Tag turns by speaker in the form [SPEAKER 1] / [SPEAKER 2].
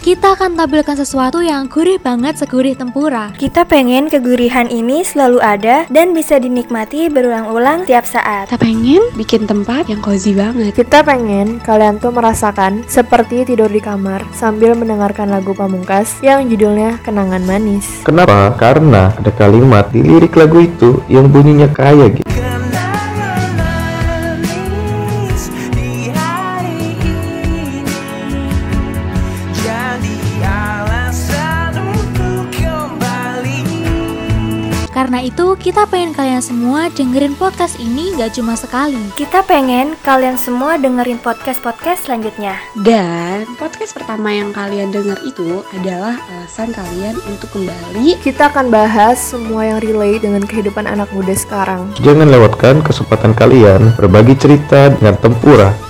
[SPEAKER 1] Kita akan tampilkan sesuatu yang gurih banget segurih tempura.
[SPEAKER 2] Kita pengen kegurihan ini selalu ada dan bisa dinikmati berulang-ulang tiap saat.
[SPEAKER 3] Kita pengen bikin tempat yang cozy banget.
[SPEAKER 4] Kita pengen kalian tuh merasakan seperti tidur di kamar sambil mendengarkan lagu pamungkas yang judulnya Kenangan Manis.
[SPEAKER 5] Kenapa? Karena ada kalimat di lirik lagu itu yang bunyinya kaya gitu.
[SPEAKER 1] Karena itu, kita pengen kalian semua dengerin podcast ini gak cuma sekali.
[SPEAKER 2] Kita pengen kalian semua dengerin podcast-podcast selanjutnya.
[SPEAKER 3] Dan podcast pertama yang kalian dengar itu adalah alasan kalian untuk kembali.
[SPEAKER 4] Kita akan bahas semua yang relate dengan kehidupan anak muda sekarang.
[SPEAKER 5] Jangan lewatkan kesempatan kalian berbagi cerita dengan tempura